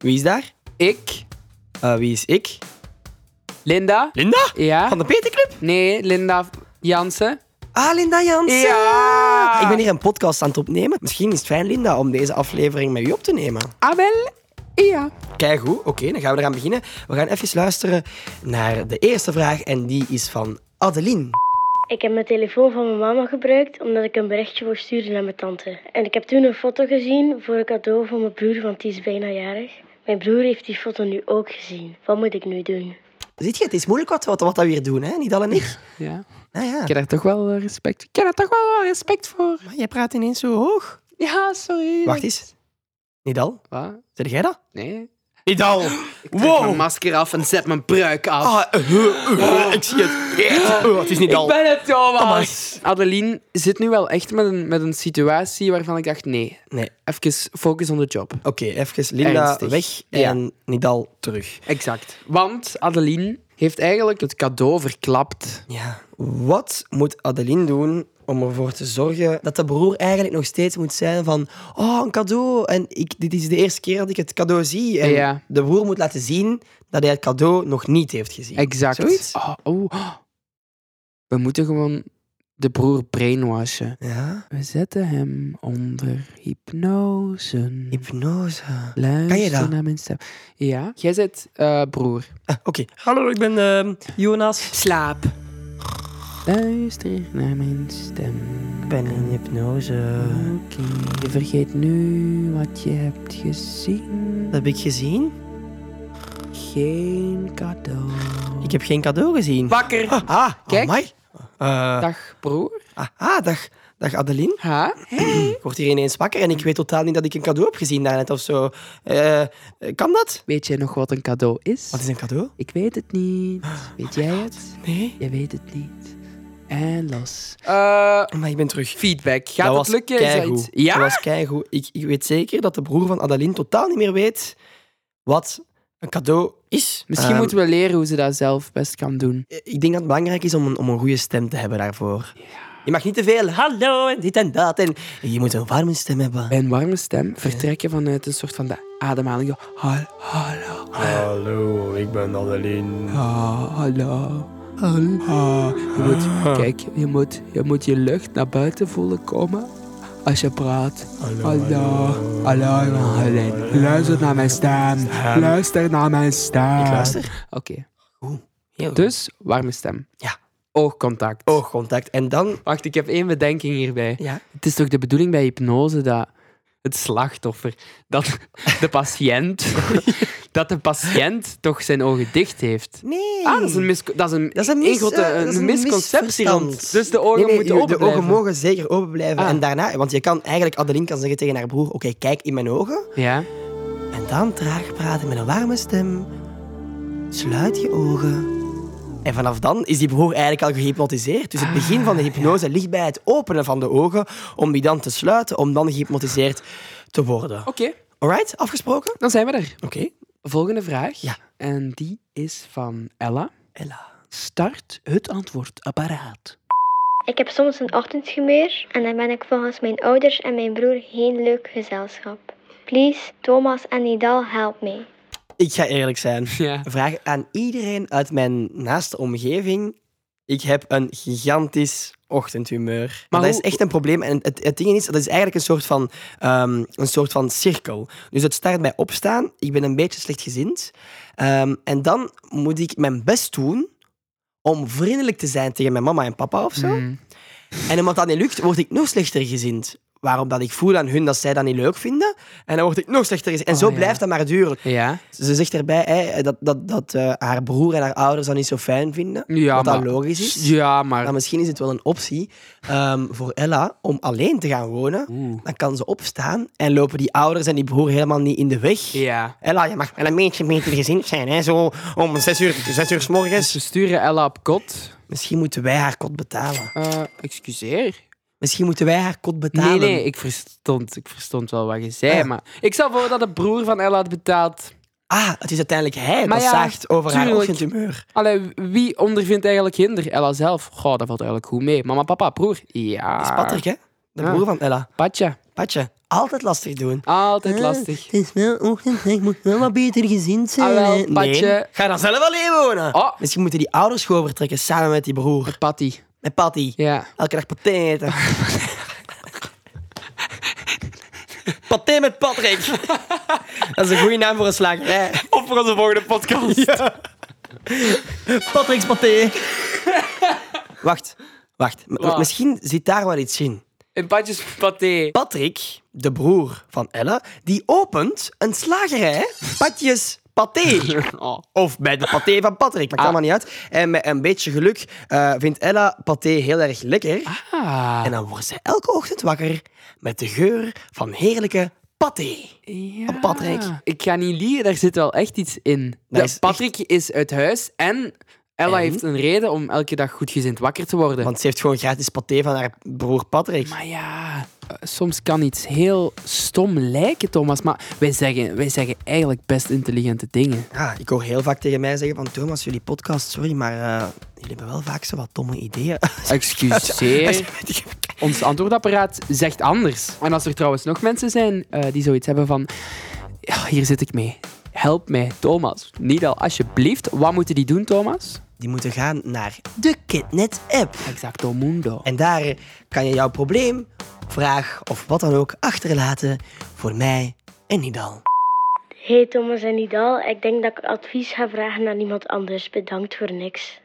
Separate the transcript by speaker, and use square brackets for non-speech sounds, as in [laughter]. Speaker 1: Wie is daar?
Speaker 2: Ik,
Speaker 1: Eh, wie is ik?
Speaker 2: Linda.
Speaker 1: Linda?
Speaker 2: Ja.
Speaker 1: Van de Peterclub?
Speaker 2: Nee, Linda Jansen.
Speaker 1: Ah, Linda Jansen.
Speaker 2: Ja.
Speaker 1: Ik ben hier een podcast aan het opnemen. Misschien is het fijn, Linda, om deze aflevering met u op te nemen.
Speaker 2: Ah, wel. Ja.
Speaker 1: Kijk goed, oké, dan gaan we eraan beginnen. We gaan even luisteren naar de eerste vraag en die is van Adeline.
Speaker 3: Ik heb mijn telefoon van mijn mama gebruikt omdat ik een berichtje wil sturen naar mijn tante. En ik heb toen een foto gezien voor een cadeau voor mijn broer, want die is bijna jarig. Mijn broer heeft die foto nu ook gezien. Wat moet ik nu doen?
Speaker 1: Ziet je, het is moeilijk wat, wat, wat dat we hier doen, hè? Niet al en ik.
Speaker 2: ja.
Speaker 1: [laughs] Nou ja,
Speaker 2: Ik heb daar toch wel eh, respect Ik heb daar toch wel wat respect voor.
Speaker 1: maar jij praat ineens zo hoog.
Speaker 2: Ja, sorry.
Speaker 1: Wacht eens. Nidal,
Speaker 2: Wat?
Speaker 1: zeg jij dat?
Speaker 2: Nee.
Speaker 1: [gasps] Nidal!
Speaker 2: Ik trek mijn masker af en zet mijn pruik af.
Speaker 1: Ah, eh, eh, eh, ik zie [gasps] het. Eh, eh, het is
Speaker 2: ik
Speaker 1: Nidal.
Speaker 2: ben het, Thomas.
Speaker 1: Thomas.
Speaker 2: Adeline zit nu wel echt met een, met een situatie waarvan ik dacht, nee,
Speaker 1: Nee,
Speaker 2: even focus on the job.
Speaker 1: oké, even Linda
Speaker 2: Ernstig.
Speaker 1: weg
Speaker 2: Ja.
Speaker 1: en Nidal terug.
Speaker 2: Exact. Want Adeline heeft eigenlijk het cadeau verklapt.
Speaker 1: Ja. Wat moet Adeline doen om ervoor te zorgen dat de broer eigenlijk nog steeds moet zijn van oh, een cadeau en ik, dit is de eerste keer dat ik het cadeau zie. En
Speaker 2: Ja.
Speaker 1: de broer moet laten zien dat hij het cadeau nog niet heeft gezien.
Speaker 2: Exact.
Speaker 1: Zoiets?
Speaker 2: Oh, oh, oh. We moeten gewoon de broer brainwashen.
Speaker 1: Ja.
Speaker 2: We zetten hem onder hypnose.
Speaker 1: Hypnose.
Speaker 2: Luister
Speaker 1: Kan je dat?
Speaker 2: naar mijn stem. Ja, jij zit eh, broer.
Speaker 1: Ah, Oké. Hallo, ik ben ehm, Jonas.
Speaker 2: Slaap. Luister naar mijn stem.
Speaker 1: Ik ben in hypnose.
Speaker 2: Oké, je vergeet nu wat je hebt gezien.
Speaker 1: Dat heb ik gezien.
Speaker 2: Geen cadeau.
Speaker 1: Ik heb geen cadeau gezien.
Speaker 2: Wakker.
Speaker 1: Ah,
Speaker 2: Kijk.
Speaker 1: amai. Eh,
Speaker 2: Dag broer.
Speaker 1: ah, ah, dag. Dag Adeline.
Speaker 2: Ha?
Speaker 1: Ik word hier ineens wakker en ik weet totaal niet dat ik een cadeau heb gezien daarnet of zo. Eh, kan dat?
Speaker 2: Weet jij nog wat een cadeau is?
Speaker 1: Wat is een cadeau?
Speaker 2: Ik weet het niet.
Speaker 1: Ah, oh
Speaker 2: Weet jij het?
Speaker 1: Nee.
Speaker 2: Je weet het niet. En los.
Speaker 1: Maar ik ben terug.
Speaker 2: feedback. Gaat
Speaker 1: dat
Speaker 2: het
Speaker 1: was
Speaker 2: lukken? Is dat
Speaker 1: keigoed.
Speaker 2: iets- Ja?
Speaker 1: Dat was keigoed. Ik, ik weet zeker dat de broer van Adeline totaal niet meer weet wat een cadeau is.
Speaker 2: Misschien
Speaker 1: Ehm,
Speaker 2: moeten we leren hoe ze dat zelf best kan doen.
Speaker 1: Ik denk dat het belangrijk is om een, om een goede stem te hebben daarvoor. Je mag niet te veel hallo en dit en dat. En je moet een warme stem hebben.
Speaker 2: Bij een warme stem vertrekken vanuit een soort van de ademhaling. Hallo, hallo,
Speaker 1: Hallo, ik ben Adeline.
Speaker 2: Ah, hallo. Ah, je moet, kijk, je moet, je moet je lucht naar buiten voelen komen als je praat. Hallo, hallo, hallo. Luister naar mijn stem. Luister naar mijn stem.
Speaker 1: Ik luister.
Speaker 2: Oké,
Speaker 1: Heel goed.
Speaker 2: dus warme stem.
Speaker 1: Ja.
Speaker 2: Oogcontact.
Speaker 1: Oogcontact. En dan...
Speaker 2: Wacht, ik heb één bedenking hierbij.
Speaker 1: Ja.
Speaker 2: Het is toch de bedoeling bij hypnose dat het slachtoffer, dat [laughs] de
Speaker 1: [laughs]
Speaker 2: patiënt, dat de patiënt toch zijn ogen dicht heeft.
Speaker 1: Nee.
Speaker 2: Ah, dat is een, misco- dat is een,
Speaker 1: Dat is een,
Speaker 2: één
Speaker 1: mis-
Speaker 2: grote-
Speaker 1: eh, dat is
Speaker 2: een
Speaker 1: een
Speaker 2: misconceptie
Speaker 1: misverstand.
Speaker 2: rond. Dus de ogen
Speaker 1: Nee, nee,
Speaker 2: moeten
Speaker 1: je-
Speaker 2: open
Speaker 1: De ogen
Speaker 2: blijven.
Speaker 1: mogen zeker open blijven.
Speaker 2: Ah.
Speaker 1: En daarna, want je kan eigenlijk, Adeline kan zeggen tegen haar broer: Oké, kijk in mijn ogen.
Speaker 2: Ja.
Speaker 1: En dan traag praten met een warme stem. Sluit je ogen. En vanaf dan is die broer eigenlijk al gehypnotiseerd.
Speaker 2: Ah.
Speaker 1: Dus het begin van de hypnose ligt bij het openen van de ogen, om die dan te sluiten, om dan gehypnotiseerd te worden.
Speaker 2: Oké,
Speaker 1: Alright, afgesproken?
Speaker 2: dan zijn we er.
Speaker 1: Oké.
Speaker 2: Volgende vraag.
Speaker 1: Ja.
Speaker 2: En die is van Ella.
Speaker 1: Ella.
Speaker 2: Start het antwoordapparaat.
Speaker 3: Ik heb soms een ochtendgemeer en dan ben ik volgens mijn ouders en mijn broer geen leuk gezelschap. Please, Thomas en Nidal, help me.
Speaker 1: Ik ga eerlijk zijn.
Speaker 2: Ja.
Speaker 1: Vraag aan iedereen uit mijn naaste omgeving. Ik heb een gigantisch ochtendhumeur.
Speaker 2: Maar
Speaker 1: Maar dat is
Speaker 2: hoe-
Speaker 1: echt een probleem. En het, het ding is, dat is eigenlijk een soort, van, ehm, een soort van cirkel. Dus het start bij opstaan. Ik ben een beetje slechtgezind. Ehm en dan moet ik mijn best doen om vriendelijk te zijn tegen mijn mama en papa of zo.
Speaker 2: Hmm.
Speaker 1: En omdat dat niet lukt, word ik nog slechter gezind. Waarom dat ik voel aan hun dat zij dat niet leuk vinden. En dan word ik nog slechter gezind. En
Speaker 2: Oh,
Speaker 1: zo
Speaker 2: ja.
Speaker 1: blijft dat maar duren.
Speaker 2: Ja.
Speaker 1: Ze zegt erbij hè, dat, dat, dat eh, haar broer en haar ouders dat niet zo fijn vinden.
Speaker 2: ja
Speaker 1: wat dat
Speaker 2: maar-
Speaker 1: logisch is.
Speaker 2: Ja, maar...
Speaker 1: Maar misschien is het wel een optie ehm, voor Ella om alleen te gaan wonen.
Speaker 2: Oeh.
Speaker 1: Dan kan ze opstaan en lopen die ouders en die broer helemaal niet in de weg.
Speaker 2: Ja.
Speaker 1: Ella, je mag wel een beetje beter gezind zijn, hè? zo om zes uur, zes uur s morgens.
Speaker 2: We sturen Ella op kot.
Speaker 1: Misschien moeten wij haar kot betalen.
Speaker 2: Eh, excuseer.
Speaker 1: Misschien moeten wij haar kot
Speaker 2: Nee,
Speaker 1: betalen.
Speaker 2: nee, ik verstond, ik verstond wel wat je zei,
Speaker 1: Ah.
Speaker 2: maar... Ik stel voor dat de broer van Ella het betaalt.
Speaker 1: Ah, het is uiteindelijk hij
Speaker 2: Maar
Speaker 1: dat
Speaker 2: ja,
Speaker 1: zaagt over haar
Speaker 2: tuurlijk.
Speaker 1: ochtendhumeur.
Speaker 2: Allee, wie ondervindt eigenlijk hinder? Ella zelf? Goh, dat valt eigenlijk goed mee. Mama, papa, broer? Ja.
Speaker 1: Dat is Patrick, hè? De
Speaker 2: Ja.
Speaker 1: broer van Ella.
Speaker 2: Patja.
Speaker 1: Patje. altijd lastig doen.
Speaker 2: Altijd lastig.
Speaker 1: Het is wel ochtend, hè. ik moet wel wat beter gezind zijn.
Speaker 2: Ah, wel,
Speaker 1: hè.
Speaker 2: Patje.
Speaker 1: Ga dan zelf alleen wonen.
Speaker 2: Oh.
Speaker 1: Misschien moeten die ouders gewoon vertrekken samen met die broer.
Speaker 2: Patty.
Speaker 1: Met Patty.
Speaker 2: Ja.
Speaker 1: Elke dag paté eten. paté met Patrick. Dat is een goede naam voor een slagerij.
Speaker 4: Of voor onze volgende podcast.
Speaker 1: Patrick's paté. wacht, wacht. M-
Speaker 2: Wat?
Speaker 1: Misschien zit daar wel iets in.
Speaker 2: En Patjes paté.
Speaker 1: Patrick, de broer van Elle, die opent een slagerij. Patjes paté.
Speaker 2: [laughs] Oh.
Speaker 1: Of bij de paté van Patrick, maakt
Speaker 2: Ah.
Speaker 1: allemaal niet uit. En met een beetje geluk eh, vindt Ella paté heel erg lekker.
Speaker 2: Ah.
Speaker 1: En dan wordt ze elke ochtend wakker met de geur van heerlijke paté.
Speaker 2: Ja.
Speaker 1: Patrick.
Speaker 2: Ik ga niet liegen, daar zit wel echt iets in. De-
Speaker 1: is
Speaker 2: Patrick is uit huis en Ella
Speaker 1: En?
Speaker 2: heeft een reden om elke dag goedgezind wakker te worden.
Speaker 1: Want ze heeft gewoon gratis paté van haar broer Patrick.
Speaker 2: Maar ja, eh, soms kan iets heel stom lijken, Thomas. Maar wij zeggen, wij zeggen eigenlijk best intelligente dingen.
Speaker 1: Ja, Ah, ik hoor heel vaak tegen mij zeggen van Thomas, jullie podcast, sorry, maar eh, jullie hebben wel vaak zo wat domme ideeën. [laughs]
Speaker 2: Excuseer. Ons antwoordapparaat zegt anders. En als er trouwens nog mensen zijn eh, die zoiets hebben van... "Ja, hier zit ik mee. Help mij, Thomas. Niet al, alsjeblieft. Wat moeten die doen, Thomas?
Speaker 1: Die moeten gaan naar de Kidnet app.
Speaker 2: Exacto mundo.
Speaker 1: En daar kan je jouw probleem, vraag of wat dan ook achterlaten voor mij en Nidal.
Speaker 3: Hey Thomas en Nidal, ik denk dat ik advies ga vragen aan iemand anders. Bedankt voor niks.